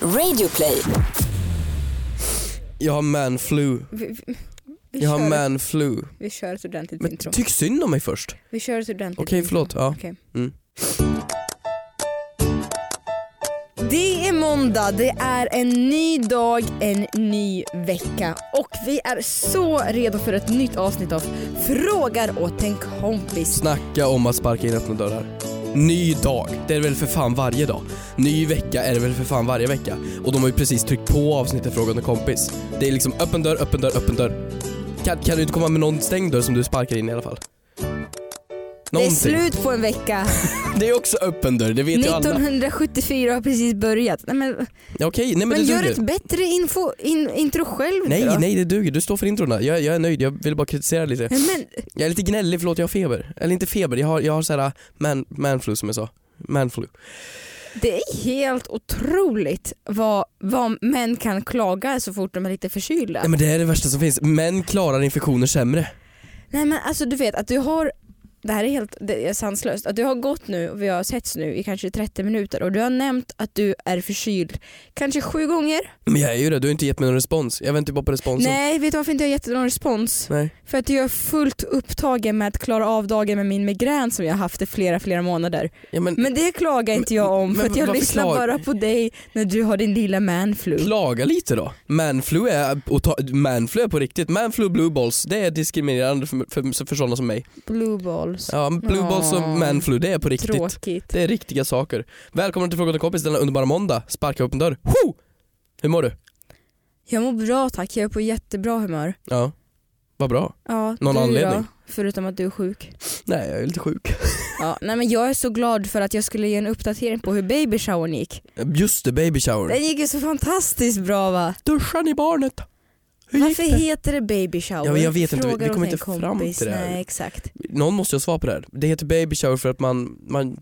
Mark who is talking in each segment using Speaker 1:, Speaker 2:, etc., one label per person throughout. Speaker 1: Radioplay.
Speaker 2: Jag har man flu.
Speaker 3: Vi, vi, vi,
Speaker 2: Jag har
Speaker 3: kör,
Speaker 2: man flu.
Speaker 3: vi kör ett ordentligt
Speaker 2: Men
Speaker 3: intro.
Speaker 2: tyck synd om mig först.
Speaker 3: Vi kör ett ordentligt
Speaker 2: Okej,
Speaker 3: intro.
Speaker 2: förlåt. Ja.
Speaker 3: Okej.
Speaker 2: Mm.
Speaker 3: Det är måndag, det är en ny dag, en ny vecka och vi är så redo för ett nytt avsnitt av Frågar åt en kompis.
Speaker 2: Snacka om att sparka in öppna dörrar. Ny dag, det är väl för fan varje dag. Ny vecka är det väl för fan varje vecka. Och de har ju precis tryckt på avsnittet Fråga om en kompis. Det är liksom öppen dörr, öppen dörr, öppen dörr. Kan, kan du inte komma med någon stängd dörr som du sparkar in i alla fall?
Speaker 3: Det är
Speaker 2: Någonting.
Speaker 3: slut på en vecka.
Speaker 2: Det är också öppen dörr, det vet ju alla.
Speaker 3: 1974 har precis börjat. Nej, men, men,
Speaker 2: Ja, Okej, nej men, det
Speaker 3: gör
Speaker 2: duger.
Speaker 3: ett bättre info, in, intro själv då.
Speaker 2: Nej, nej det duger. Du står för introna. Jag, jag är nöjd, jag vill bara kritisera lite.
Speaker 3: Nej, Men
Speaker 2: Jag är lite gnällig, förlåt jag har feber. Eller inte feber, jag har, jag har såhär man, manflu som jag sa. Manflu.
Speaker 3: Det är helt otroligt vad, vad män kan klaga så fort de är lite förkylda.
Speaker 2: Nej men det är det värsta som finns. Män klarar infektioner sämre.
Speaker 3: Nej men alltså du vet att du har, det här är helt det är sanslöst, att du har gått nu och vi har setts nu i kanske 30 minuter och du har nämnt att du är förkyld kanske sju gånger.
Speaker 2: Men jag är ju det, du har inte gett mig någon respons. Jag väntar ju bara på responsen.
Speaker 3: Nej vet du varför inte jag har gett dig någon respons?
Speaker 2: Nej.
Speaker 3: För att jag är fullt upptagen med att klara av dagen med min migrän som jag har haft i flera flera månader.
Speaker 2: Ja, men,
Speaker 3: Men det klagar inte jag om för
Speaker 2: men
Speaker 3: att jag
Speaker 2: varför
Speaker 3: lyssnar
Speaker 2: klag-
Speaker 3: bara på dig när du har din lilla manflu.
Speaker 2: Klaga lite då. Manflu är, och ta, manflu är på riktigt. Manflu blue balls, det är diskriminerande för, för, för sådana som mig.
Speaker 3: Blue balls.
Speaker 2: Ja, blue
Speaker 3: Ja.
Speaker 2: balls och manflu, det är på riktigt.
Speaker 3: Tråkigt.
Speaker 2: Det är riktiga saker. Välkommen till Fråga åt en kompis denna underbara måndag. Sparka upp en dörr. Ho! Hur mår du?
Speaker 3: Jag mår bra tack, jag är på jättebra humör.
Speaker 2: Ja, vad bra.
Speaker 3: Ja,
Speaker 2: Någon
Speaker 3: du
Speaker 2: anledning?
Speaker 3: Då, förutom att du är sjuk.
Speaker 2: Nej, jag är lite sjuk.
Speaker 3: Ja, nej men jag är så glad för att jag skulle ge en uppdatering på hur baby showern gick.
Speaker 2: Just det, baby shower.
Speaker 3: Den gick ju så fantastiskt bra va?
Speaker 2: Duschar i barnet? Hur gick
Speaker 3: Varför
Speaker 2: det?
Speaker 3: heter det baby shower?
Speaker 2: Ja, men jag vet inte, vi- vi
Speaker 3: Frågar åt
Speaker 2: kommer
Speaker 3: en
Speaker 2: inte fram
Speaker 3: kompis.
Speaker 2: till det här.
Speaker 3: Nej exakt.
Speaker 2: Någon måste ju svara på det här. Det heter baby shower för att man... man...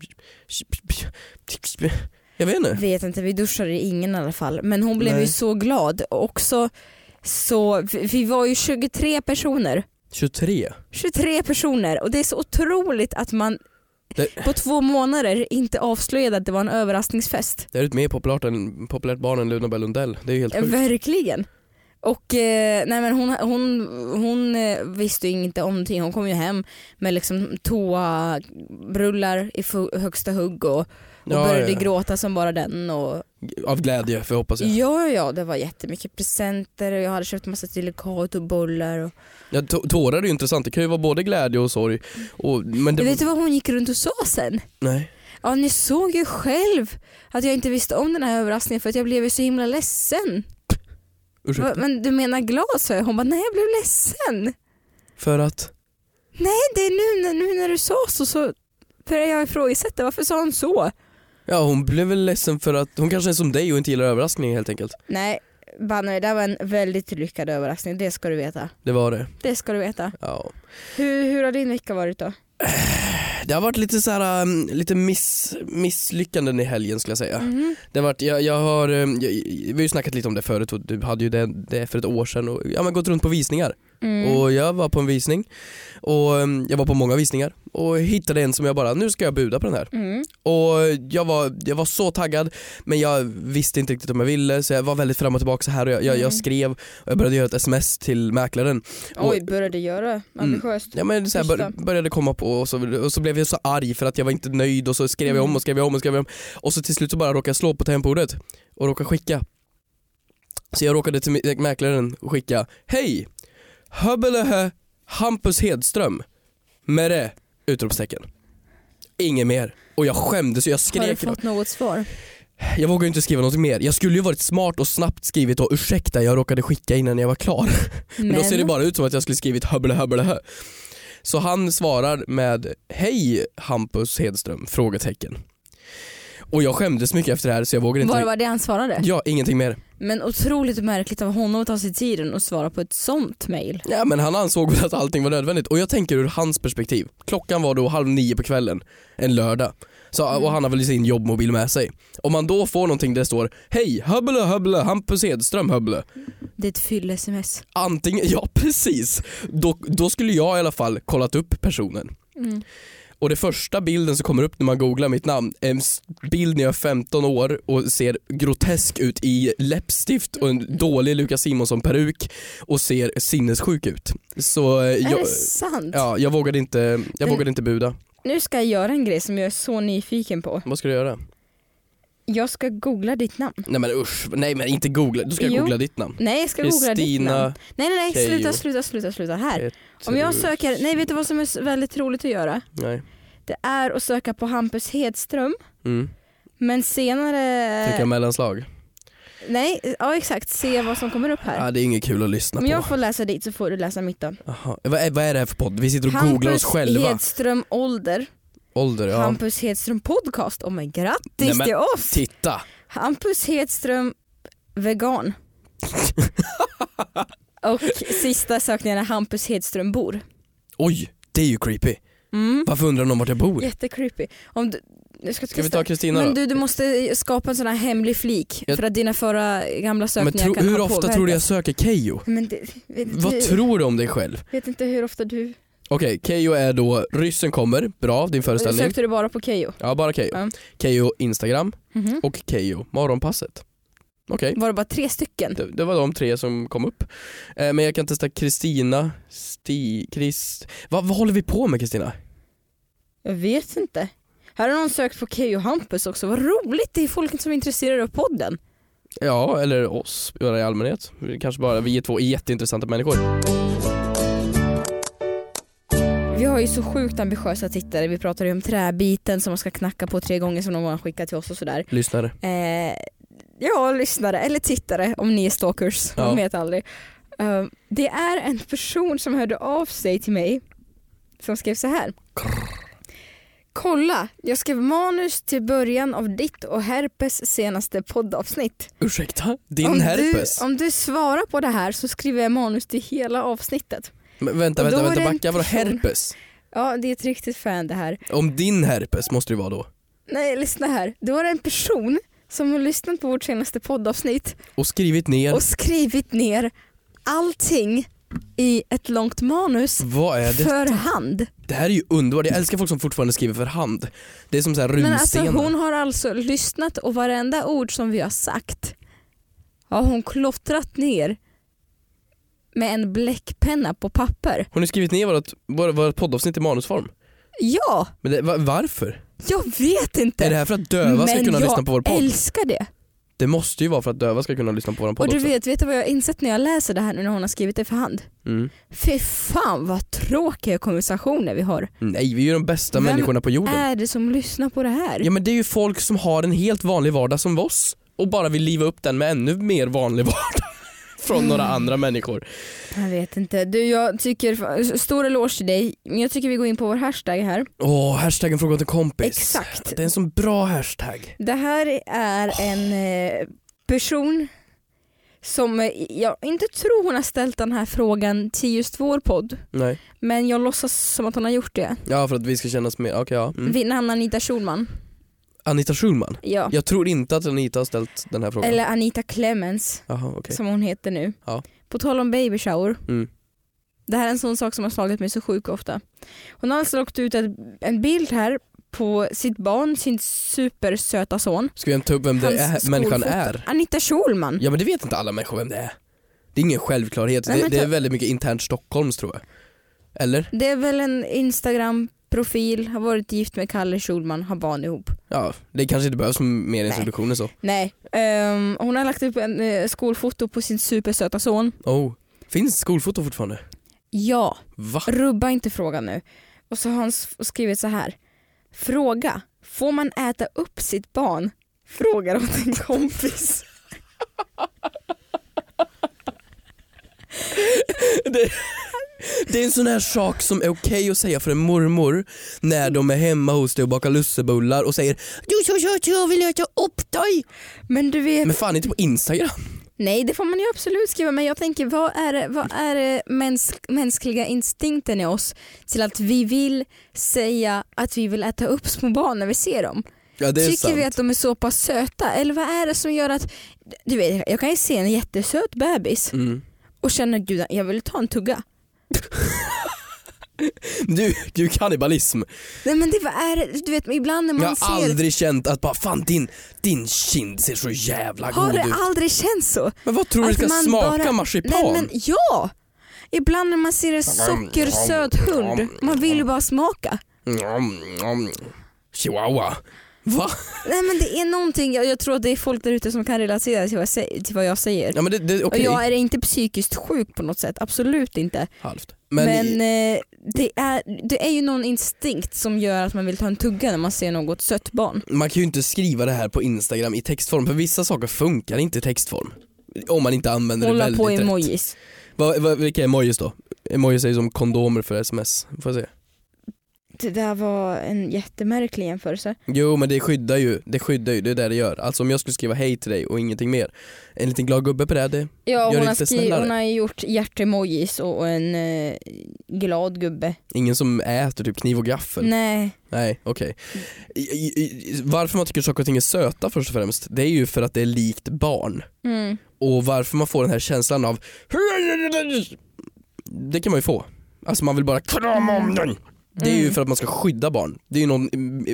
Speaker 2: Jag vet inte.
Speaker 3: Vet inte, vi duschade ingen i alla fall. Men hon blev
Speaker 2: Nej.
Speaker 3: ju så glad och också så, vi vi var ju 23 personer.
Speaker 2: 23.
Speaker 3: 23 personer och det är så otroligt att man
Speaker 2: Det-
Speaker 3: på två månader inte avslöjade att det var en överraskningsfest.
Speaker 2: Det är ett mer populärt, än, populärt barn än Luna Bell Lundell. Det är ju helt
Speaker 3: Ja,
Speaker 2: sjukt.
Speaker 3: Verkligen. Och eh, nej men hon, hon, hon eh, visste ju inte om någonting. Hon kom ju hem med liksom toarullar i fu- högsta hugg och, och
Speaker 2: Ja,
Speaker 3: började
Speaker 2: ja.
Speaker 3: gråta som bara den. Och,
Speaker 2: Av glädje, för jag hoppas jag.
Speaker 3: ja, ja, det var jättemycket presenter och jag hade köpt massa delikat och bollar. Och,
Speaker 2: Ja, tå- tårar är ju intressant. Det kan ju vara både glädje och sorg. Och, men det...
Speaker 3: Vet du vad hon gick runt och sa sen?
Speaker 2: Nej.
Speaker 3: Ja, ni såg ju själv att jag inte visste om den här överraskningen för att jag blev ju så himla ledsen.
Speaker 2: Ursäkta.
Speaker 3: Va, men du menar glad sa jag. Hon bara, nej jag blev ledsen.
Speaker 2: För att...
Speaker 3: det är nu, när- nu när du sa så så börjar jag ifrågasätta varför sa hon så?
Speaker 2: Ja, hon blev väl ledsen för att hon kanske är som dig och inte gillar överraskningar helt enkelt.
Speaker 3: Nej, Banne, det där var en väldigt lyckad överraskning. Det ska du veta.
Speaker 2: Det var det.
Speaker 3: Det ska du veta.
Speaker 2: Ja.
Speaker 3: Hur, hur har din vecka varit då?
Speaker 2: Det har varit lite så här, um, lite miss, misslyckanden i helgen skulle jag säga. Det har varit, jag, jag har, um, jag, vi har ju snackat lite om det förut och du hade ju det, det för ett år sedan och ja, men gått runt på visningar.
Speaker 3: Mm.
Speaker 2: Och jag var på en visning och um, jag var på många visningar och hittade en som jag bara, nu ska jag buda på den här.
Speaker 3: Mm.
Speaker 2: Och jag var, jag var så taggad men jag visste inte riktigt om jag ville så jag var väldigt fram och tillbaka så här och jag, jag, jag
Speaker 3: Mm.
Speaker 2: skrev och jag började göra ett sms till mäklaren
Speaker 3: Oj, började göra ambitiöst.
Speaker 2: Ja, men så här, bör,
Speaker 3: Första.
Speaker 2: började komma på och så, och så blev jag så arg för att jag var inte nöjd och så skrev jag
Speaker 3: Mm.
Speaker 2: om och skrev jag om och skrev jag om och så till slut så bara råkade jag slå på tangentbordet och råkade skicka. Så jag råkade till mä- mäklaren och skicka Hej! Höbelehö Hampus Hedström med det! Utropstecken. Inget mer. Och jag skämdes och jag
Speaker 3: Har du
Speaker 2: skrek.
Speaker 3: fått något svar?
Speaker 2: Jag vågade ju inte skriva något mer. Jag skulle ju varit smart och snabbt skrivit och ursäkta jag råkade skicka innan jag var klar. Men, då ser det bara ut som att jag skulle skrivit höble höble hö. Så han svarar med Hej Hampus Hedström? Frågetecken. Och jag skämdes mycket efter det här så jag vågade inte.
Speaker 3: Var var det han svarade?
Speaker 2: Ja, ingenting mer.
Speaker 3: Men otroligt märkligt av honom att ta sig tiden och svara på ett sånt mail.
Speaker 2: Ja, men han ansåg väl att allting var nödvändigt och jag tänker ur hans perspektiv. Klockan var då halv nio på kvällen, en lördag. Så,
Speaker 3: Mm.
Speaker 2: och han har väl sin jobbmobil med sig. Om man då får någonting där det står Hej Höble Höble Hampus Hedström Höble.
Speaker 3: Det är ett fyll-sms. Mm.
Speaker 2: Antingen, ja precis. Då, då skulle jag i alla fall kollat upp personen. Och det första bilden som kommer upp när man googlar mitt namn är en s- bild när jag är 15 år och ser grotesk ut i läppstift och en dålig Lukas Simonsson peruk och ser sinnessjuk ut. Så eh,
Speaker 3: Är
Speaker 2: jag,
Speaker 3: det sant?
Speaker 2: ja, jag, vågade, inte, jag
Speaker 3: Den-
Speaker 2: vågade inte buda.
Speaker 3: Nu ska jag göra en grej som jag är så nyfiken på.
Speaker 2: Vad ska du göra?
Speaker 3: Jag ska googla ditt namn.
Speaker 2: Nej men usch, nej men inte googla, du ska jag
Speaker 3: Jo.
Speaker 2: googla ditt namn.
Speaker 3: Nej jag ska googla ditt namn.
Speaker 2: Kristina
Speaker 3: Nej nej nej, sluta
Speaker 2: Keyyo.
Speaker 3: sluta sluta sluta här.
Speaker 2: Petru-
Speaker 3: Om jag söker, nej vet du vad som är s- väldigt roligt att göra?
Speaker 2: Nej.
Speaker 3: Det är att söka på Hampus Hedström
Speaker 2: Mm.
Speaker 3: men senare...
Speaker 2: Trycka mellanslag.
Speaker 3: Nej, ja exakt, se vad som kommer upp här.
Speaker 2: Ah, det är inget kul att lyssna
Speaker 3: Om jag
Speaker 2: på.
Speaker 3: får läsa dit så får du läsa mitt då.
Speaker 2: Jaha. Vad, är, vad är det här för podd? Vi sitter och googlar oss själva.
Speaker 3: Hedström ålder,
Speaker 2: Ålder, ja.
Speaker 3: Hampus Hedström podcast. Oh men grattis
Speaker 2: Nej, men-
Speaker 3: till oss!
Speaker 2: Titta!
Speaker 3: Hampus Hedström vegan. Och sista sökningen är Hampus Hedström bor.
Speaker 2: Oj, det är ju creepy.
Speaker 3: Mm.
Speaker 2: Varför undrar någon vart jag bor?
Speaker 3: Jättecreepy. Om du, jag ska,
Speaker 2: Ska vi
Speaker 3: testa.
Speaker 2: ta Kristina då?
Speaker 3: Men du, du måste skapa en sån här hemlig flik
Speaker 2: Jag-
Speaker 3: för att dina förra gamla
Speaker 2: Men
Speaker 3: sökningar
Speaker 2: tro,
Speaker 3: kan
Speaker 2: hur
Speaker 3: ha
Speaker 2: ofta
Speaker 3: påverkat.
Speaker 2: tror du jag söker Kejo?
Speaker 3: Men det, vet, inte,
Speaker 2: Vad tror du om dig själv?
Speaker 3: vet inte hur ofta du...
Speaker 2: Okej, Kejo är då, ryssen kommer, bra din föreställning.
Speaker 3: Sökte du bara på Keyyo?
Speaker 2: Ja, bara Kejo.
Speaker 3: Ja.
Speaker 2: Kejo Instagram
Speaker 3: Mhm.
Speaker 2: och Kejo Morgonpasset. Okej,
Speaker 3: Var det bara tre stycken?
Speaker 2: det, det var de tre som kom upp. Eh, men jag kan testa Kristina, Sti, Krist... Vad, vad håller vi på med Kristina?
Speaker 3: Jag vet inte. Här har någon sökt på Keyyo Hampus också, vad roligt! Det är folk som är intresserade av podden.
Speaker 2: Ja, eller oss bara i allmänhet. Vi Kanske bara vi är två jätteintressanta människor.
Speaker 3: Vi har ju så sjukt ambitiösa tittare, vi pratar ju om träbiten som man ska knacka på tre gånger som någon har skickat till oss och sådär.
Speaker 2: Lyssnare.
Speaker 3: Eh, ja, lyssnare eller tittare om ni är stalkers,
Speaker 2: Ja.
Speaker 3: man vet aldrig. Eh, det är en person som hörde av sig till mig som skrev så här. Kolla, jag skrev manus till början av ditt och Herpes senaste poddavsnitt.
Speaker 2: Ursäkta? Din
Speaker 3: om,
Speaker 2: herpes?
Speaker 3: Du, om du svarar på det här så skriver jag manus till hela avsnittet.
Speaker 2: Men vänta,
Speaker 3: Och då
Speaker 2: vänta,
Speaker 3: var
Speaker 2: vänta,
Speaker 3: det en
Speaker 2: backa. Vadå
Speaker 3: person.
Speaker 2: herpes?
Speaker 3: Ja, det är ett riktigt fan det här.
Speaker 2: Om din herpes måste det vara då.
Speaker 3: Nej, lyssna här. Det var en person som har lyssnat på vårt senaste poddavsnitt
Speaker 2: Och skrivit ner,
Speaker 3: och skrivit ner allting i ett långt manus
Speaker 2: vad är det?
Speaker 3: för hand.
Speaker 2: Det här är ju underbart. Jag älskar folk som fortfarande skriver för hand. Det är som så här
Speaker 3: Men alltså
Speaker 2: runstenar.
Speaker 3: hon har alltså lyssnat och varenda ord som vi har sagt har hon klottrat ner med en bläckpenna på papper.
Speaker 2: Har ni skrivit ner vårt, vår- vårt poddavsnitt i manusform?
Speaker 3: Ja,
Speaker 2: Men det, va- varför?
Speaker 3: jag vet inte.
Speaker 2: Är det här för att döva ska
Speaker 3: Men
Speaker 2: kunna
Speaker 3: jag
Speaker 2: lyssna på vår podd?
Speaker 3: älskar det.
Speaker 2: Det måste ju vara för att döva ska kunna lyssna på vår
Speaker 3: Och
Speaker 2: podd
Speaker 3: du
Speaker 2: också.
Speaker 3: vet, vet du vad jag har insett när jag läser det här nu när hon har skrivit det för hand?
Speaker 2: Mm.
Speaker 3: Fy fan vad tråkiga konversationer vi har.
Speaker 2: Nej, vi är ju de bästa
Speaker 3: Vem
Speaker 2: människorna på jorden.
Speaker 3: Är det som lyssnar på det här?
Speaker 2: Ja men det är ju folk som har en helt vanlig vardag som oss och bara vill liva upp den med ännu mer vanlig vardag från några
Speaker 3: Mm.
Speaker 2: andra människor.
Speaker 3: Jag vet inte. Du, jag tycker, stor eloge till dig. Men jag tycker vi går in på vår hashtag här.
Speaker 2: Åh, hashtaggen fråga åt en kompis.
Speaker 3: Exakt.
Speaker 2: Det är en sån bra hashtag.
Speaker 3: Det här är en eh, person som eh, jag inte tror hon har ställt den här frågan till just vår podd.
Speaker 2: Nej.
Speaker 3: Men jag låtsas som att hon har gjort det.
Speaker 2: Ja för att vi ska kännas mer, okej ja. Mm.
Speaker 3: Vid namn Anita Schulman.
Speaker 2: Anita Schulman.
Speaker 3: Ja.
Speaker 2: Jag tror inte att Anita har ställt den här frågan.
Speaker 3: Eller Anita Clemens
Speaker 2: Jaha okej.
Speaker 3: som hon heter nu.
Speaker 2: Ja.
Speaker 3: På tal om baby shower.
Speaker 2: Mm.
Speaker 3: Det här är en sån sak som har slagit mig så sjukt ofta. Hon har alltså lagt ut ett, en bild här på sitt barn, sin supersöta son.
Speaker 2: Ska vi ens ta upp vem det
Speaker 3: Hans
Speaker 2: är, människan
Speaker 3: skolfoto. Mm.
Speaker 2: är?
Speaker 3: Anita Schulman.
Speaker 2: Ja men det vet inte alla människor vem det är. Det är ingen självklarhet,
Speaker 3: Nej,
Speaker 2: det,
Speaker 3: men
Speaker 2: det är
Speaker 3: ta-
Speaker 2: väldigt mycket internt Stockholms tror jag. Eller?
Speaker 3: Det är väl en Instagram-profil, har varit gift med Kalle Schulman, har barn ihop.
Speaker 2: Ja, det kanske inte behövs mer introduktioner så.
Speaker 3: Nej, ehm, hon har lagt upp en eh, skolfoto på sin supersöta son.
Speaker 2: Oh. Finns skolfoto fortfarande?
Speaker 3: Ja,
Speaker 2: Va?
Speaker 3: rubba inte frågan nu. Och så har hon s- skrivit så här. Fråga, får man äta upp sitt barn? Frågar åt en kompis.
Speaker 2: Det är en sån här sak som är okej att säga för en mormor när de är hemma hos dig och bakar lussebullar och säger du så söt jag vill äta upp dig.
Speaker 3: Men du vet,
Speaker 2: Men fan inte på Instagram.
Speaker 3: nej det får man ju absolut skriva men jag tänker vad är, det- vad är det mäns- mänskliga instinkten i oss till att vi vill säga att vi vill äta upp små barn när vi ser dem?
Speaker 2: Ja det är
Speaker 3: Tycker
Speaker 2: sant.
Speaker 3: vi att de är så pass söta? Eller vad är det som gör att, du vet jag kan ju se en jättesöt bebis
Speaker 2: Mm.
Speaker 3: och känna gud jag vill ta en tugga.
Speaker 2: Du, du kannibalism.
Speaker 3: Nej men det vad är det? Du vet ibland när man
Speaker 2: Jag har
Speaker 3: ser...
Speaker 2: aldrig känt att bara fan din, din kind ser så jävla
Speaker 3: har
Speaker 2: god
Speaker 3: det
Speaker 2: ut.
Speaker 3: aldrig känts så?
Speaker 2: Men vad tror du
Speaker 3: Att
Speaker 2: ska
Speaker 3: man
Speaker 2: smaka
Speaker 3: bara-
Speaker 2: marsipan?
Speaker 3: Nej men ja! Ibland när man ser en sockersöt hund, man vill ju bara smaka.
Speaker 2: Mm, mm. Chihuahua. Va?
Speaker 3: Nej men det är någonting, jag, jag tror att det är folk där ute som kan relatera till vad jag, sä- till vad jag säger.
Speaker 2: Ja men det, det okej.
Speaker 3: Och jag är inte psykiskt sjuk på något sätt, absolut inte.
Speaker 2: Halvt. Men,
Speaker 3: Men, eh, det, är, det är ju någon instinkt som gör att man vill ta en tugga när man ser något sött barn.
Speaker 2: man kan ju inte skriva det här på Instagram i textform för vissa saker funkar inte i textform. Om man inte använder det
Speaker 3: Hålla
Speaker 2: väldigt
Speaker 3: på
Speaker 2: rätt.
Speaker 3: emojis.
Speaker 2: Va, va, vilka är emojis då? Emojis är ju som kondomer för sms. Får jag se?
Speaker 3: Det där var en jättemärklig jämförelse.
Speaker 2: Jo men det skyddar ju, det skyddar ju, det är det det gör. Alltså om jag skulle skriva hej till dig och ingenting mer, en liten glad gubbe på det, här, det
Speaker 3: Ja,
Speaker 2: Gör
Speaker 3: hon,
Speaker 2: det
Speaker 3: har
Speaker 2: lite
Speaker 3: skri-
Speaker 2: snällare.
Speaker 3: hon har ju gjort hjärtemojis och, och en eh, glad gubbe.
Speaker 2: ingen som äter typ kniv och gaffel.
Speaker 3: Nej.
Speaker 2: Nej, okej. I- i- i- Varför man tycker saker och ting är söta först och främst, det är ju för att det är likt barn.
Speaker 3: Mm.
Speaker 2: Och varför man får den här känslan av Det kan man ju få. Alltså man vill bara krama om den. Det är ju för att man ska skydda barn. Det är ju någon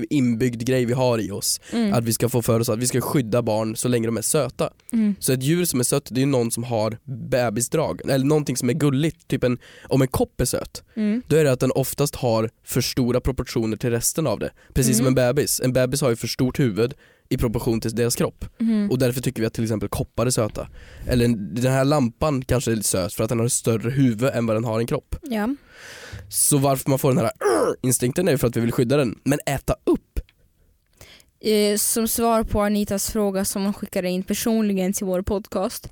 Speaker 2: inbyggd grej vi har i oss.
Speaker 3: Mm.
Speaker 2: Att vi ska få för oss att vi ska skydda barn så länge de är söta.
Speaker 3: Mm.
Speaker 2: Så ett djur som är sött, det är ju någon som har bebisdrag. Eller någonting som är gulligt. Typ en, om en kopp är söt,
Speaker 3: Mm.
Speaker 2: då är det att den oftast har för stora proportioner till resten av det. Precis som en bebis. En bebis har ju för stort huvud i proportion till deras kropp.
Speaker 3: Mm.
Speaker 2: Och därför tycker vi att till exempel koppar är söta. Eller en- den här lampan kanske är lite söt för att den har ett större huvud än vad den har en kropp.
Speaker 3: Ja.
Speaker 2: Så varför man får den här "Arr!" instinkten är ju för att vi vill skydda den. Men äta upp?
Speaker 3: Eh, som svar på Anitas fråga som hon skickade in personligen till vår podcast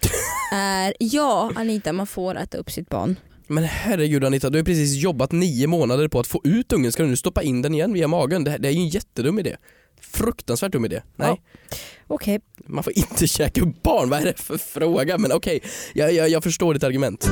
Speaker 3: är ja Anita man får äta upp sitt barn.
Speaker 2: Men herregud Anita, du har ju precis jobbat nio månader på att få ut ungen. Ska du nu stoppa in den igen via magen? Det, här, det är ju en jättedum idé. Fruktansvärt dum idé. Nej,
Speaker 3: Okej.
Speaker 2: man får inte käka upp barn. Vad är det för fråga? Men okej, jag, jag, jag förstår ditt argument.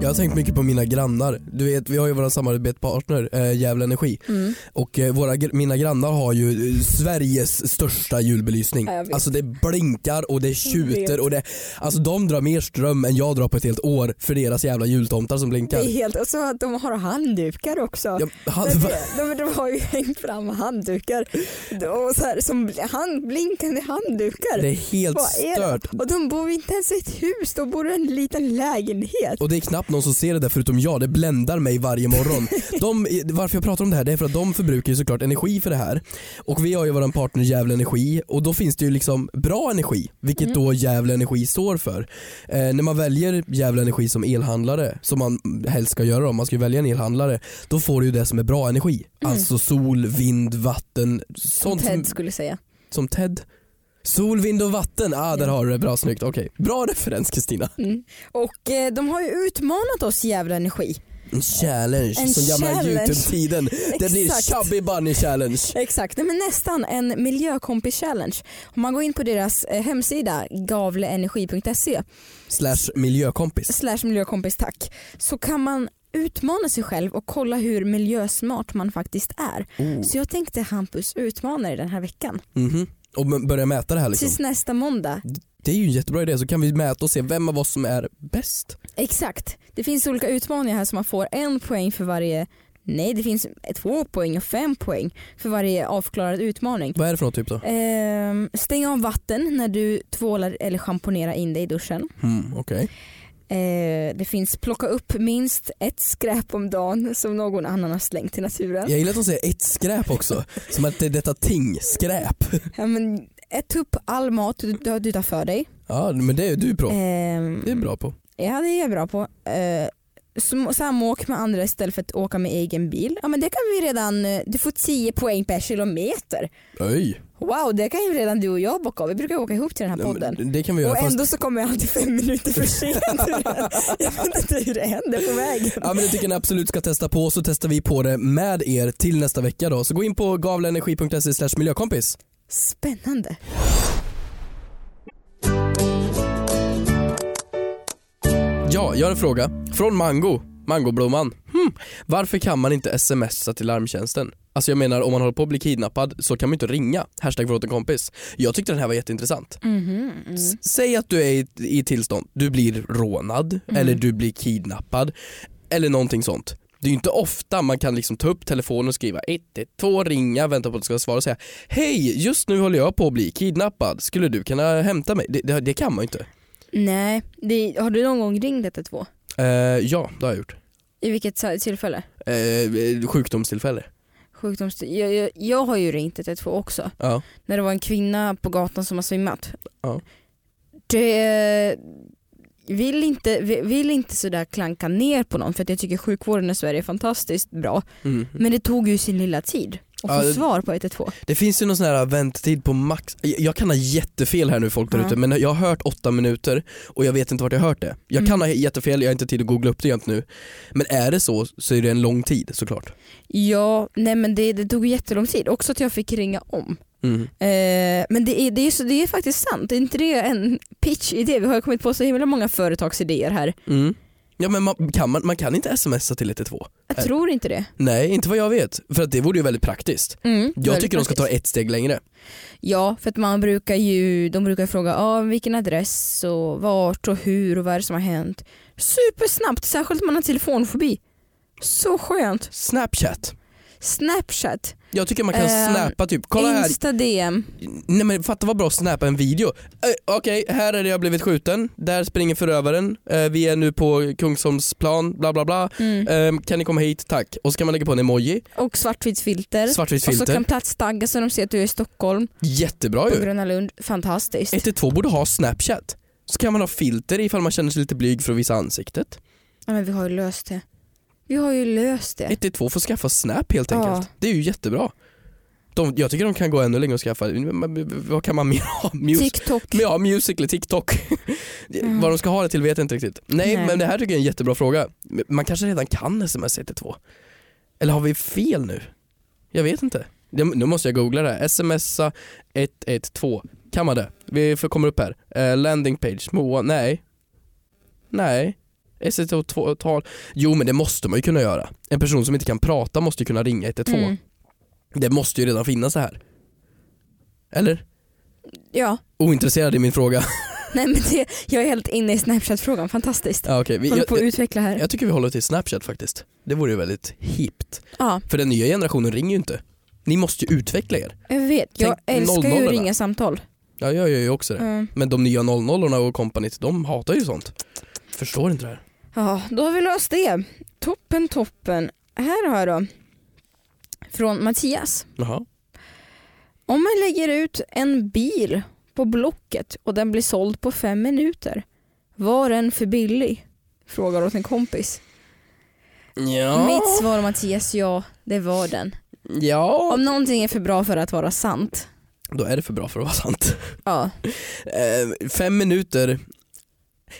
Speaker 2: Jag har tänkt mycket på mina grannar. Du vet, vi har ju vår samarbetspartner eh, Jävla Energi.
Speaker 3: Mm.
Speaker 2: Och eh, våra, gr- mina grannar har ju eh, Sveriges största julbelysning.
Speaker 3: Ja, jag vet.
Speaker 2: Alltså det blinkar och det tjuter och det, alltså de drar mer ström än jag drar på ett helt år för deras jävla jultomtar som
Speaker 3: Det
Speaker 2: blinkar.
Speaker 3: är helt, och så att de har handdukar också.
Speaker 2: Ja, han,
Speaker 3: Men det- de, de har ju hängt fram handdukar och så här, som bl- hand, blinkande handdukar.
Speaker 2: det är helt
Speaker 3: Vad är det?
Speaker 2: stört.
Speaker 3: Och de bor inte ens i ett hus, de bor i en liten lägenhet.
Speaker 2: Och det är knappt någon som ser det där förutom jag, det bländar mig varje morgon. De, varför jag pratar om det här det är för att de förbrukar ju såklart energi för det här. Och vi har ju våran partner Gävle Energi och då finns det ju liksom bra energi, vilket då Gävle Energi står för. Eh, när man väljer Gävle Energi som elhandlare, som man helst ska göra om man ska ju välja en elhandlare, då får du ju det som är bra energi. Alltså sol, vind, vatten, sånt som,
Speaker 3: Ted skulle säga.
Speaker 2: som Ted. Sol, vind och vatten, ah där har du det, bra snyggt. Okej, bra referens Kristina.
Speaker 3: Och eh, de har ju utmanat oss jävla energi.
Speaker 2: En challenge
Speaker 3: En
Speaker 2: som gamla
Speaker 3: challenge.
Speaker 2: Youtube-tiden. Det blir
Speaker 3: Exakt.
Speaker 2: Chubby Bunny Challenge.
Speaker 3: Exakt, nej, men nästan en miljökompis challenge. Om man går in på deras eh, hemsida gavleenergi.se
Speaker 2: Slash miljökompis.
Speaker 3: slash miljökompis tack så kan man utmana sig själv och kolla hur miljösmart man faktiskt är.
Speaker 2: Oh.
Speaker 3: Så jag tänkte Hampus utmana dig den här veckan.
Speaker 2: Mhm. Och m- börja mäta det här liksom.
Speaker 3: Tills nästa måndag.
Speaker 2: Det är ju en jättebra idé så kan vi mäta och se vem av oss som är bäst.
Speaker 3: Exakt. Det finns olika utmaningar här som man får en poäng för varje Nej det finns två poäng och fem poäng för varje avklarad utmaning.
Speaker 2: Vad är det för något typ då?
Speaker 3: Ehm, stäng av vatten när du tvålar eller schamponerar in dig i duschen.
Speaker 2: Hmm, Okej.
Speaker 3: Eh, det finns plocka upp minst ett skräp om dagen som någon annan har slängt till naturen.
Speaker 2: Jag gillar att de säger ett skräp också. Som att det är detta ting, skräp.
Speaker 3: Ja, men, ät upp all mat du, du, du tar för dig.
Speaker 2: Ja men det är du bra
Speaker 3: Ehm,
Speaker 2: Det är bra på.
Speaker 3: Ja det är jag bra på. Eh, sm- samåk med andra istället för att åka med egen bil. Ja men det kan vi redan, eh, du får 10 poäng per kilometer.
Speaker 2: Oj.
Speaker 3: Wow det kan ju redan du och jag bocka av. Vi brukar åka ihop till den här
Speaker 2: Nej,
Speaker 3: podden.
Speaker 2: men Det kan vi göra
Speaker 3: Och
Speaker 2: fast...
Speaker 3: ändå så kommer jag alltid fem minuter för sent. jag vet inte hur det händer på vägen.
Speaker 2: Ja men det tycker jag ni absolut ska testa på så testar vi på det med er till nästa vecka då. Så gå in på gavleenergi.se slash miljökompis.
Speaker 3: Spännande.
Speaker 2: Ja, jag har en fråga. Från Mango. Mangoblomman. Hmm. Varför kan man inte smsa till larmtjänsten? Alltså jag menar om man håller på att bli kidnappad så kan man ju inte ringa. Hashtag förlåt en kompis. Jag tyckte den här var jätteintressant.
Speaker 3: Mm.
Speaker 2: S- Säg att du är i, i tillstånd, du blir rånad eller du blir kidnappad eller någonting sånt. Det är ju inte ofta man kan liksom ta upp telefonen och skriva 112, ringa, vänta på att det ska svara och säga Hej, just nu håller jag på att bli kidnappad, skulle du kunna hämta mig? Det, det, det kan man ju inte.
Speaker 3: Nej, det, har du någon gång ringt 112?
Speaker 2: Eh, ja, det har jag gjort.
Speaker 3: I vilket så- tillfälle?
Speaker 2: Eh, sjukdomstillfälle.
Speaker 3: Sjukdoms... Jag, jag, jag har ju ringt 112 också.
Speaker 2: Ja.
Speaker 3: När det var en kvinna på gatan som har svimmat.
Speaker 2: Ja.
Speaker 3: Det, vill, inte, vi- vill inte sådär klanka ner på någon för att jag tycker sjukvården i Sverige är fantastiskt bra.
Speaker 2: Mm.
Speaker 3: Men det tog ju sin lilla tid att
Speaker 2: Ja,
Speaker 3: få
Speaker 2: det-
Speaker 3: svar på 112.
Speaker 2: Det finns ju någon sån här äh, väntetid på max, jag jag kan ha jättefel här nu folk där
Speaker 3: Ja.
Speaker 2: ute men jag har hört åtta minuter och jag vet inte vart jag har hört det.
Speaker 3: Mm.
Speaker 2: Jag kan ha jättefel, jag har inte tid att googla upp det jämt nu. Men är det så så är det en lång tid såklart.
Speaker 3: Ja, nej men det, det tog jättelång tid. Också att jag fick ringa om.
Speaker 2: Mm.
Speaker 3: Eh, men det är, det, är så, det är faktiskt sant, är inte det en pitch-idé? Vi har ju kommit på så himla många företagsidéer här.
Speaker 2: Mm. Ja men man kan, man, man kan inte smsa till 112.
Speaker 3: Jag
Speaker 2: Eh.
Speaker 3: tror inte det.
Speaker 2: Nej inte vad jag vet, för att det vore ju väldigt praktiskt.
Speaker 3: Mm,
Speaker 2: Jag
Speaker 3: väldigt
Speaker 2: tycker de ska ta e-
Speaker 3: praktiskt.
Speaker 2: ett steg längre.
Speaker 3: Ja, för att man brukar ju, de brukar fråga ah, vilken adress och vart och hur och vad är det som har hänt. Supersnabbt, särskilt om man har telefonfobi. Så skönt.
Speaker 2: Snapchat.
Speaker 3: Snapchat,
Speaker 2: Jag tycker man kan
Speaker 3: Ehm,
Speaker 2: snappa typ, kolla här,
Speaker 3: Insta-DM.
Speaker 2: Nej men fatta vad bra att snappa en video. Eh, Okej, här är det jag blivit skjuten, där springer förövaren, eh, vi är nu på Kungsholmsplan, bla bla bla.
Speaker 3: Mm.
Speaker 2: Eh, kan ni komma hit, tack. Och så kan man lägga på en emoji,
Speaker 3: Och svartvitt filter.
Speaker 2: svartvitt
Speaker 3: Och så Alltså,
Speaker 2: filter.
Speaker 3: kan platstagga så de ser att du är i Stockholm
Speaker 2: Jättebra
Speaker 3: på
Speaker 2: ju.
Speaker 3: Gröna Lund. Fantastiskt.
Speaker 2: 112 borde ha snapchat. Så kan man ha filter ifall man känner sig lite blyg för att visa ansiktet.
Speaker 3: Ja, men vi har ju löst det. Vi har ju löst det.
Speaker 2: 112 får skaffa snap helt
Speaker 3: Ja.
Speaker 2: enkelt. Det är ju jättebra. De, jag tycker de kan gå ännu längre och skaffa, men vad kan man mer ha? Music-
Speaker 3: TikTok.
Speaker 2: Men ja, Musical.ly, TikTok.
Speaker 3: Ja.
Speaker 2: Vad de ska ha det till vet jag inte riktigt. Nej,
Speaker 3: Mm. Nej.
Speaker 2: men det här tycker jag är en jättebra fråga. Man kanske redan kan sms 112? Eller har vi fel nu? Jag vet inte. Det- Nu måste jag googla det här. Smsa 112. Kan man det? Vi får- kommer upp här. Eh, landing page, MOA, nej. Nej. SEO-tal. Jo men det måste man ju kunna göra. En person som inte kan prata måste ju kunna ringa 112.
Speaker 3: Mm.
Speaker 2: Det måste ju redan finnas det här. Eller?
Speaker 3: Ja,
Speaker 2: Ointresserad i min fråga.
Speaker 3: nej men det, jag är helt inne i Snapchat-frågan. Fantastiskt.
Speaker 2: ja, okay. Ah, vi,
Speaker 3: Håller
Speaker 2: jag-
Speaker 3: på att utveckla här.
Speaker 2: Jag tycker vi håller till Snapchat faktiskt. Det vore ju väldigt hippt.
Speaker 3: Ja,
Speaker 2: För den nya generationen ringer ju inte. Ni måste ju utveckla er.
Speaker 3: jag vet. Jag
Speaker 2: Tänk
Speaker 3: älskar ju
Speaker 2: 00:orna.
Speaker 3: att ringa samtal.
Speaker 2: Ja, jag gör ju också det.
Speaker 3: Mm.
Speaker 2: Men de nya 00 och kompaniet, de hatar ju sånt. Förstår inte det här.
Speaker 3: Ja, då har vi löst det. Toppen, toppen. Här har jag då. Från Mattias.
Speaker 2: Jaha.
Speaker 3: Om man lägger ut en bil på Blocket och den blir såld på fem minuter, var den för billig? Frågar åt en kompis.
Speaker 2: Ja.
Speaker 3: Mitt svar Mattias, ja det var den.
Speaker 2: ja.
Speaker 3: Om någonting är för bra för att vara sant,
Speaker 2: Då är det för bra för att vara sant.
Speaker 3: ja.
Speaker 2: Eh, fem minuter.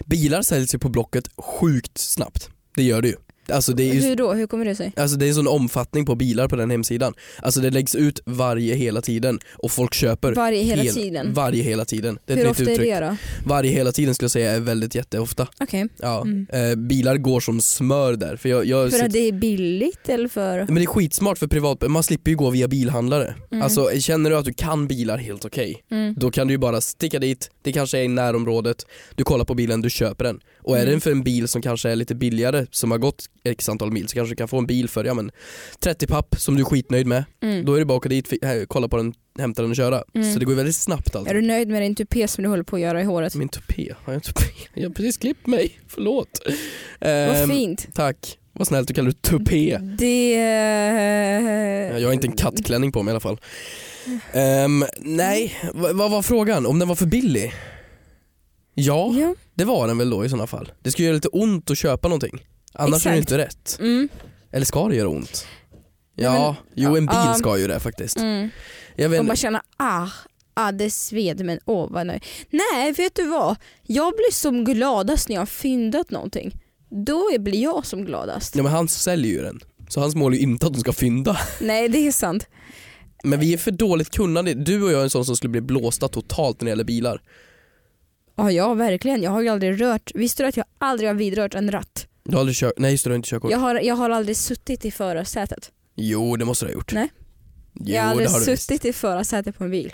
Speaker 2: Bilar säljs ju på Blocket sjukt snabbt. Det gör det ju. Alltså det är ju
Speaker 3: Hur då? Hur kommer det sig?
Speaker 2: Alltså det är en sån omfattning på bilar på den hemsidan. Alltså det läggs ut varje hela tiden och folk köper
Speaker 3: Varje hela
Speaker 2: hel-
Speaker 3: tiden?
Speaker 2: Varje hela tiden. Det är ett
Speaker 3: Hur
Speaker 2: nytt
Speaker 3: ofta är
Speaker 2: uttryck.
Speaker 3: det då?
Speaker 2: Varje hela tiden skulle jag säga är väldigt jätteofta.
Speaker 3: Okej.
Speaker 2: Ja.
Speaker 3: Mm.
Speaker 2: Eh, bilar går som smör där. För jag, jag
Speaker 3: För
Speaker 2: sitter-
Speaker 3: att det är billigt eller för?
Speaker 2: Men det är skitsmart för privat, man slipper ju gå via bilhandlare.
Speaker 3: Mm.
Speaker 2: Alltså känner du att du kan bilar helt okej,
Speaker 3: Mm.
Speaker 2: då kan du ju bara sticka dit, det kanske är i närområdet, du kollar på bilen, du köper den. Och är
Speaker 3: Mm.
Speaker 2: det för en bil som kanske är lite billigare, som har gått x antal mil, så kanske du kan få en bil för ja, men 30 papp som du är skitnöjd med.
Speaker 3: Mm.
Speaker 2: Då är det bara att åka dit, fi- här, kolla på den, hämta den och köra.
Speaker 3: Mm.
Speaker 2: Så det går ju väldigt snabbt allt.
Speaker 3: Är du nöjd med din tupé som du håller på att göra i håret?
Speaker 2: Min tupé, har jag en tupé? Jag har precis klippt mig, förlåt.
Speaker 3: Vad
Speaker 2: Ehm,
Speaker 3: fint.
Speaker 2: Tack, vad snällt du kallar det tupé.
Speaker 3: Det...
Speaker 2: Ja, Jag har inte en kattklänning på mig i alla fall. Ehm, nej, v- vad var frågan? Om den var för billig? Ja,
Speaker 3: Ja.
Speaker 2: det var den väl då i sådana fall. Det skulle göra lite ont att köpa någonting. Annars är det
Speaker 3: Exakt.
Speaker 2: inte rätt.
Speaker 3: Mm.
Speaker 2: Eller ska det göra ont? Ja,
Speaker 3: Nej,
Speaker 2: jo en bil
Speaker 3: ja.
Speaker 2: ska ju det faktiskt.
Speaker 3: Mm.
Speaker 2: Jag vet
Speaker 3: Och
Speaker 2: inte.
Speaker 3: bara känna ah, ah det sved men åh vad nöjd. Nej vet du vad? Jag blir som gladast när jag har fyndat någonting. Då är- blir jag som gladast.
Speaker 2: Ja, men han säljer ju den. Så hans mål är ju inte att de ska fynda.
Speaker 3: Nej det är sant.
Speaker 2: Men vi är för dåligt kunnande. Du och jag är en sån som skulle bli blåsta totalt när det gäller bilar.
Speaker 3: Ja, ja verkligen. Jag har ju aldrig rört. Visste du att jag aldrig har vidrört en ratt?
Speaker 2: Du har aldrig kört, nej just det, du har inte körkort.
Speaker 3: Jag har, jag har aldrig suttit i förarsätet.
Speaker 2: Jo det måste du ha gjort.
Speaker 3: Nej.
Speaker 2: Jo,
Speaker 3: jag har aldrig
Speaker 2: det har du visst.
Speaker 3: suttit i förarsätet på en bil.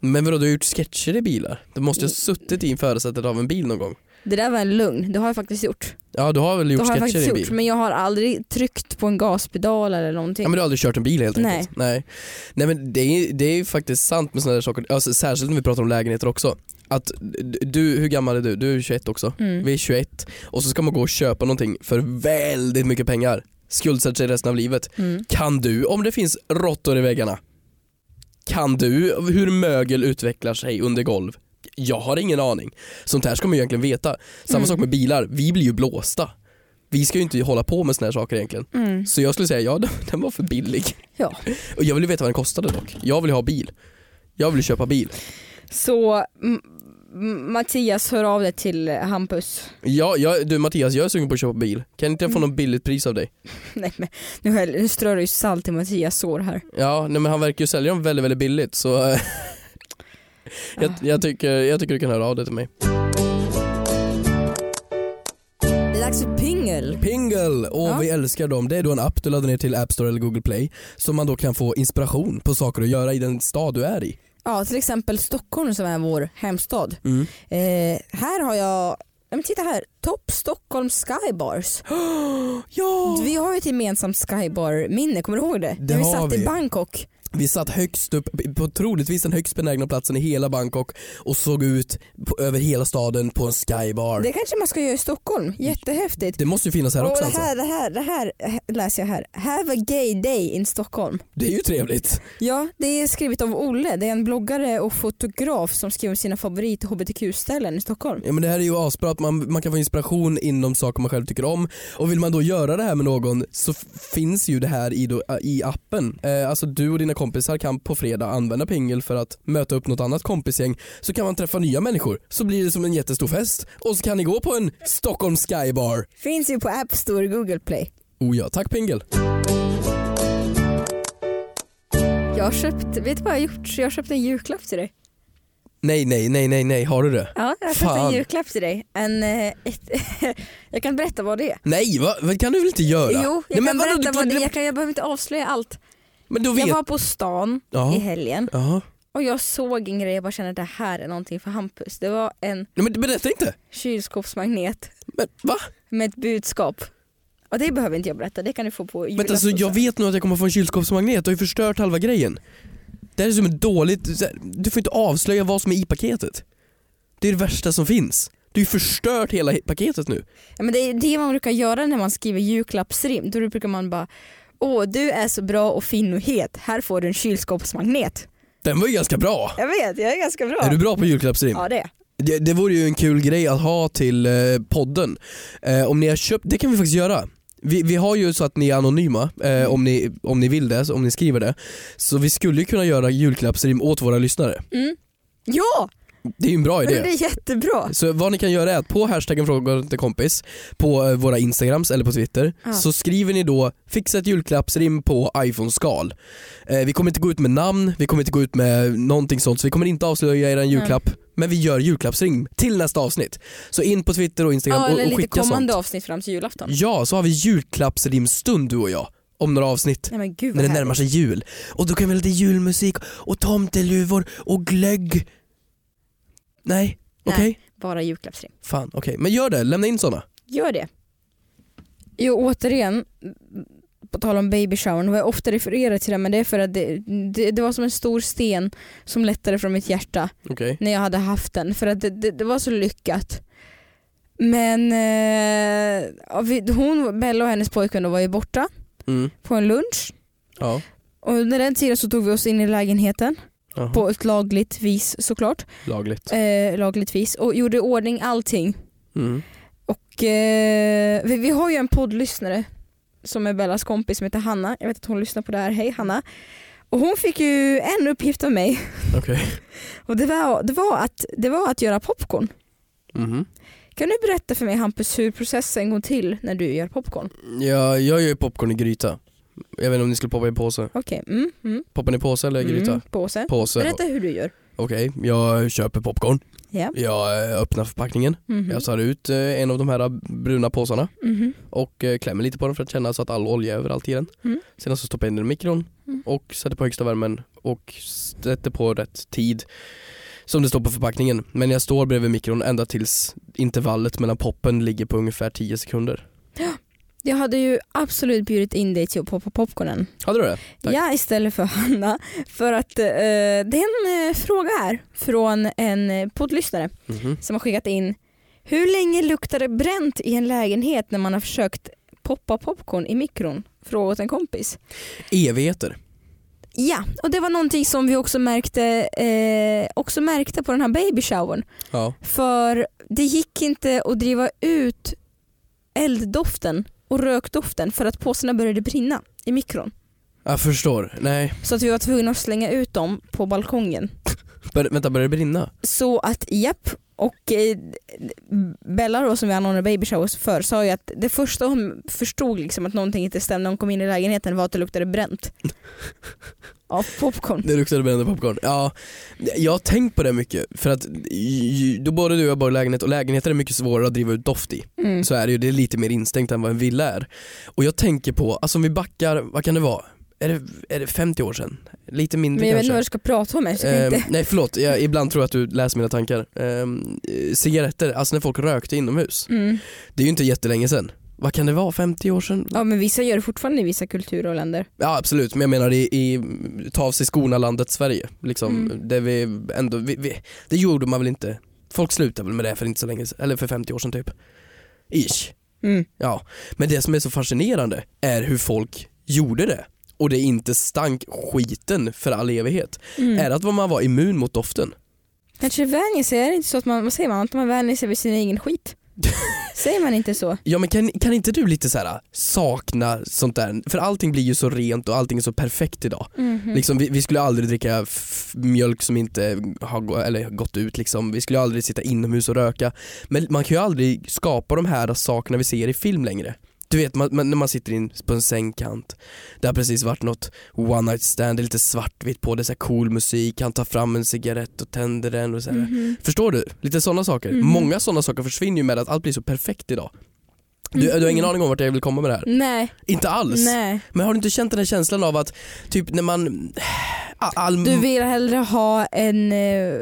Speaker 2: Men vadå du har gjort sketcher i bilar? Du måste ju ha
Speaker 3: Mm.
Speaker 2: suttit i en förarsätet av en bil någon gång?
Speaker 3: Det där var en lögn, det har jag faktiskt gjort.
Speaker 2: Ja du har väl gjort
Speaker 3: det har jag
Speaker 2: sketcher
Speaker 3: faktiskt
Speaker 2: i
Speaker 3: gjort
Speaker 2: bil?
Speaker 3: men jag har aldrig tryckt på en gaspedal eller någonting.
Speaker 2: Ja men du har aldrig kört en bil helt
Speaker 3: Nej.
Speaker 2: enkelt? Nej. Nej men det är, det är ju faktiskt sant med sådana där saker, alltså, särskilt när vi pratar om lägenheter också. Att d- du, hur gammal är du? Du är 21 också.
Speaker 3: Mm.
Speaker 2: Vi är 21 och så ska man gå och köpa någonting för väldigt mycket pengar. Skuldsätta sig resten av livet.
Speaker 3: Mm.
Speaker 2: Kan du, om det finns råttor i väggarna, kan du hur mögel utvecklar sig under golv? Jag har ingen aning. Sånt här ska man ju egentligen veta. Samma
Speaker 3: Mm.
Speaker 2: sak med bilar, vi blir ju blåsta. Vi ska ju inte hålla på med såna här saker egentligen.
Speaker 3: Mm.
Speaker 2: Så jag skulle säga, ja den- den var för billig.
Speaker 3: Ja.
Speaker 2: Och jag vill ju veta vad den kostade dock. Jag vill ju ha bil. Jag vill ju köpa bil.
Speaker 3: Så M- M- Mattias hör av dig till eh, Hampus.
Speaker 2: Ja, jag, du Mattias, jag är sugen på att köpa bil. Kan inte jag
Speaker 3: Mm.
Speaker 2: få något billigt pris av dig?
Speaker 3: Nej men nu, häll- nu strör du ju salt i Mattias sår här.
Speaker 2: Ja, nej, men han verkar ju sälja dem väldigt, väldigt billigt så eh, jag, jag, tycker, jag tycker du kan höra av dig till mig.
Speaker 3: Det är dags för Ah. pingel.
Speaker 2: Pingle, och
Speaker 3: Ja.
Speaker 2: vi älskar dem. Det är då en app du laddar ner till App Store eller Google Play som man då kan få inspiration på saker att göra i den stad du är i.
Speaker 3: Ja till exempel Stockholm som är vår hemstad.
Speaker 2: Mm.
Speaker 3: Eh, här har jag, ja, men titta här, Topp Stockholm Skybars.
Speaker 2: Ja!
Speaker 3: Vi har ju ett gemensamt skybar-minne, kommer du ihåg det? När vi
Speaker 2: har
Speaker 3: satt
Speaker 2: vi.
Speaker 3: i Bangkok.
Speaker 2: Vi satt högst upp, på troligtvis den högst benägna platsen i hela Bangkok och såg ut på, över hela staden på en skybar. Det,
Speaker 3: Det kanske man ska göra i Stockholm, jättehäftigt.
Speaker 2: måste ju finnas här
Speaker 3: Och
Speaker 2: också
Speaker 3: det
Speaker 2: alltså.
Speaker 3: här, det här, det här läser jag här. Have a gay day in Stockholm.
Speaker 2: Det är ju trevligt.
Speaker 3: Ja, det är skrivet av Olle. Det är en bloggare och fotograf som skriver om sina favorit hbtq-ställen i Stockholm.
Speaker 2: Ja, men det här är ju asbra att man, man kan få inspiration inom saker man själv tycker om och vill man då göra det här med någon så f- finns ju det här i, då, äh, i appen. Eh, alltså du och dina kompisar kan på fredag använda pingel för att möta upp något annat kompisgäng så kan man träffa nya människor så blir det som en jättestor fest och så kan ni gå på en Stockholm Skybar.
Speaker 3: Finns ju på App Store och Google Play.
Speaker 2: Oh ja, tack pingel.
Speaker 3: Jag har köpt, vet du vad jag har gjort? Jag har köpt en julklapp till dig.
Speaker 2: Nej, nej, nej, nej, nej, har du det?
Speaker 3: Ja, jag har köpt
Speaker 2: Fan.
Speaker 3: en julklapp till dig. En, eh, ett, jag kan berätta vad det är.
Speaker 2: Nej, va? vad kan du väl inte göra?
Speaker 3: Jo, jag
Speaker 2: nej,
Speaker 3: kan
Speaker 2: vadå,
Speaker 3: berätta
Speaker 2: du-
Speaker 3: vad det är. Jag, kan, jag behöver inte avslöja allt.
Speaker 2: Men då
Speaker 3: Jag
Speaker 2: vet...
Speaker 3: var på stan i
Speaker 2: Jaha.
Speaker 3: helgen
Speaker 2: Jaha.
Speaker 3: och jag såg en grej jag bara kände att det här är någonting för Hampus. Det var en
Speaker 2: Nej, men berätta inte.
Speaker 3: kylskåpsmagnet
Speaker 2: Men va?
Speaker 3: med ett budskap. Och det behöver inte jag berätta, det kan du få på
Speaker 2: Vänta, alltså, jag
Speaker 3: julafton.
Speaker 2: vet nog att jag kommer få en kylskåpsmagnet, du har ju förstört halva grejen. Det här är som ett dåligt, så här, du får inte avslöja vad som är i paketet. Det är det värsta som finns. Du har ju förstört hela he- paketet nu.
Speaker 3: Ja, men det är det man brukar göra när man skriver julklappsrim. Då brukar man bara Åh, du är så bra och fin och het. Här får du en kylskåpsmagnet.
Speaker 2: Den var ju ganska bra.
Speaker 3: Jag vet, jag är ganska bra.
Speaker 2: Är du bra på julklappsrim?
Speaker 3: Ja, det är
Speaker 2: Det, det vore ju en kul grej att ha till eh, podden. Eh, om ni har köpt, det kan vi faktiskt göra. Vi, vi har ju så att ni är anonyma
Speaker 3: Mm.
Speaker 2: eh, om, ni, om ni vill det, så om ni skriver det. Så vi skulle ju kunna göra julklappsrim åt våra lyssnare.
Speaker 3: Mm. Ja,
Speaker 2: Det är ju en bra
Speaker 3: men
Speaker 2: idé.
Speaker 3: det är jättebra.
Speaker 2: Så vad ni kan göra är att på hashtaggen frågar inte kompis på eh, våra instagrams eller på twitter
Speaker 3: Ja.
Speaker 2: så skriver ni då fixa ett julklappsrim på iPhone-skal. Eh, vi kommer inte gå ut med namn, vi kommer inte gå ut med någonting sånt så vi kommer inte avslöja er en julklapp men vi gör julklappsrim till nästa avsnitt. Så in på twitter och instagram
Speaker 3: Ja,
Speaker 2: och,
Speaker 3: eller
Speaker 2: och
Speaker 3: lite
Speaker 2: skicka
Speaker 3: kommande
Speaker 2: sånt.
Speaker 3: avsnitt fram till julafton.
Speaker 2: Ja, så har vi julklappsrimstund du och jag om några avsnitt.
Speaker 3: Nej men gud
Speaker 2: När
Speaker 3: vad
Speaker 2: det närmar sig jul. Och då kan vi ha lite julmusik och tomteluvor och glögg. Nej,
Speaker 3: Nej.
Speaker 2: okej?
Speaker 3: härligt. Bara julklappsrim.
Speaker 2: Fan, okej. Men gör det, lämna in såna.
Speaker 3: Gör det. Jo, återigen, på tal om baby showern, vad jag ofta refererar till det men det är för att det, det, det var som en stor sten som lättade från mitt hjärta
Speaker 2: Okej.
Speaker 3: när jag hade haft den för att det, det, det var så lyckat. Men eh, ja, vi, hon, Bella och hennes pojkvän då var ju borta
Speaker 2: Mm.
Speaker 3: på en lunch
Speaker 2: Ja.
Speaker 3: och under den tiden så tog vi oss in i lägenheten
Speaker 2: Jaha.
Speaker 3: på ett lagligt vis såklart.
Speaker 2: Lagligt.
Speaker 3: Eh, lagligt vis och gjorde i ordning allting.
Speaker 2: Mm.
Speaker 3: Och eh, vi, vi har ju en poddlyssnare som är Bellas kompis som heter Hanna. Jag vet att hon lyssnar på det här. Hej Hanna. Och hon fick ju en uppgift av mig
Speaker 2: Okej.
Speaker 3: och det var, det var, att, det var att göra popcorn.
Speaker 2: Mhm.
Speaker 3: Kan du berätta för mig Hampus hur processen går till när du gör popcorn?
Speaker 2: Ja, jag gör ju popcorn i gryta. Jag vet inte om ni skulle poppa i påse.
Speaker 3: Okej, mm, mm,
Speaker 2: Poppar ni påse eller gryta?
Speaker 3: mm, påse.
Speaker 2: Påse.
Speaker 3: Berätta hur du gör.
Speaker 2: okej, jag köper popcorn.
Speaker 3: Ja.
Speaker 2: Jag eh, öppnar förpackningen.
Speaker 3: Mhm.
Speaker 2: Jag tar ut eh, en av de här bruna påsarna
Speaker 3: Mhm.
Speaker 2: och eh, klämmer lite på den för att känna så att all olja är överallt i den.
Speaker 3: Mm.
Speaker 2: Sedan så stoppar jag in den i mikron
Speaker 3: Mm.
Speaker 2: och sätter på högsta värmen och sätter på rätt tid som det står på förpackningen. Men jag står bredvid mikron ända tills intervallet mellan poppen ligger på ungefär 10 sekunder.
Speaker 3: Jag hade ju absolut bjudit in dig till att poppa popcornen.
Speaker 2: Hade du det? Tack.
Speaker 3: Ja, istället för Hanna. För att eh, det är en eh, fråga här från en eh, poddlyssnare
Speaker 2: Mhm.
Speaker 3: som har skickat in. Hur länge luktar det bränt i en lägenhet när man har försökt poppa popcorn i mikron? Fråga åt en kompis.
Speaker 2: Evigheter.
Speaker 3: Ja, och det var någonting som vi också märkte, eh, också märkte på den här babyshowern.
Speaker 2: Ja.
Speaker 3: För det gick inte att driva ut elddoften och rökdoften för att påsarna började brinna i mikron.
Speaker 2: Jag förstår. Nej.
Speaker 3: Så att vi var tvungna att slänga ut dem på balkongen.
Speaker 2: Bör, vänta, börjar det brinna?
Speaker 3: Så att japp, och eh, Bella då som vi anordnade baby showers för sa ju att det första hon förstod liksom att någonting inte stämde när hon kom in i lägenheten var att det luktade bränt. Av popcorn.
Speaker 2: Det luktade bränd popcorn. Ja, jag har tänkt på det mycket för att ju- ju- då både du och jag bor i lägenhet och lägenheter är mycket svårare att driva ut doft i.
Speaker 3: Mm.
Speaker 2: Så är det ju, det är lite mer instängt än vad en villa är. Och jag tänker på, alltså om vi backar, vad kan det vara? Är det, är det 50 år sedan? Lite mindre
Speaker 3: Men jag vet inte
Speaker 2: kanske?
Speaker 3: vad du ska prata om här, så jag kan
Speaker 2: Ehm,
Speaker 3: inte...
Speaker 2: nej förlåt, jag, ibland tror jag att du läser mina tankar. Ehm, eh, cigaretter, alltså när folk rökte inomhus.
Speaker 3: Mm.
Speaker 2: Det är ju inte jättelänge sedan. Vad kan det vara, 50 år sedan?
Speaker 3: Ja men vissa gör det fortfarande i vissa kulturer och länder.
Speaker 2: Ja absolut, men jag menar i, i ta av sig skorna landet Sverige. Liksom,
Speaker 3: Mm.
Speaker 2: där vi ändå, vi, vi, det gjorde man väl inte. Folk slutade väl med det för inte så länge sedan, eller för 50 år sedan typ. Ish.
Speaker 3: Mm.
Speaker 2: Ja. Men det som är så fascinerande är hur folk gjorde det och det inte stank skiten för all evighet.
Speaker 3: Mm.
Speaker 2: Är det att man var immun mot doften?
Speaker 3: Kanske vänjer sig, är det inte så att man, vad säger man, att man vänjer sig vid sin egen skit? säger man inte så?
Speaker 2: Ja men kan, kan inte du lite så här sakna sånt där? För allting blir ju så rent och allting är så perfekt idag.
Speaker 3: Mhm. Mm.
Speaker 2: Liksom, vi, vi skulle aldrig dricka f- mjölk som inte har gå- eller, gått ut, liksom. vi skulle aldrig sitta inomhus och röka. Men man kan ju aldrig skapa de här sakerna vi ser i film längre. Du vet man, man, när man sitter in på en sängkant, det har precis varit något one night stand, det är lite svartvitt på, det är så här cool musik, han tar fram en cigarett och tänder den och så här.
Speaker 3: Mhm.
Speaker 2: Förstår du? Lite sådana saker.
Speaker 3: Mhm.
Speaker 2: Många sådana saker försvinner ju med att allt blir så perfekt idag. Du, du har ingen
Speaker 3: Mhm.
Speaker 2: aning om vart jag vill komma med det här?
Speaker 3: Nej,
Speaker 2: Inte alls.
Speaker 3: nej.
Speaker 2: Men har du inte känt den här känslan av att typ när man... All, all,
Speaker 3: Ah, Du vill hellre ha en eh,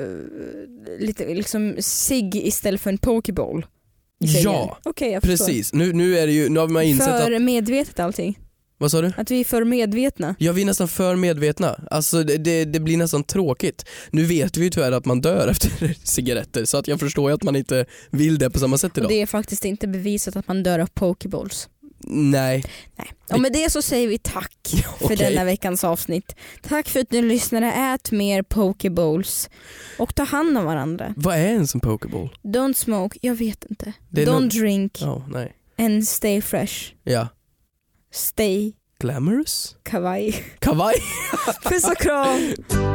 Speaker 3: lite liksom cigg istället för en pokeball? i sängen.
Speaker 2: ja,
Speaker 3: Okej jag förstår.
Speaker 2: precis. Nu, nu, är det ju, nu har man insett
Speaker 3: för
Speaker 2: att...
Speaker 3: medvetet allting.
Speaker 2: Vad sa du?
Speaker 3: Att vi är för medvetna.
Speaker 2: Ja, vi är nästan för medvetna. Alltså det, det, det blir nästan tråkigt. Nu vet vi ju tyvärr att man dör efter cigaretter så att jag förstår ju att man inte vill det på samma sätt
Speaker 3: Och
Speaker 2: idag.
Speaker 3: det är faktiskt inte bevisat att man dör av pokeballs.
Speaker 2: Nej,
Speaker 3: Och med det så säger vi tack för
Speaker 2: okej.
Speaker 3: denna veckans avsnitt. Tack för att ni lyssnade. Ät mer pokeballs och ta hand om varandra.
Speaker 2: Vad är ens en pokeball?
Speaker 3: Don't smoke, jag vet inte.
Speaker 2: Det är
Speaker 3: Don't
Speaker 2: någon-
Speaker 3: drink
Speaker 2: Ja, nej.
Speaker 3: and stay fresh.
Speaker 2: Ja.
Speaker 3: Stay
Speaker 2: Glamorous?
Speaker 3: kavaj.
Speaker 2: Kavaj?
Speaker 3: Puss och kram.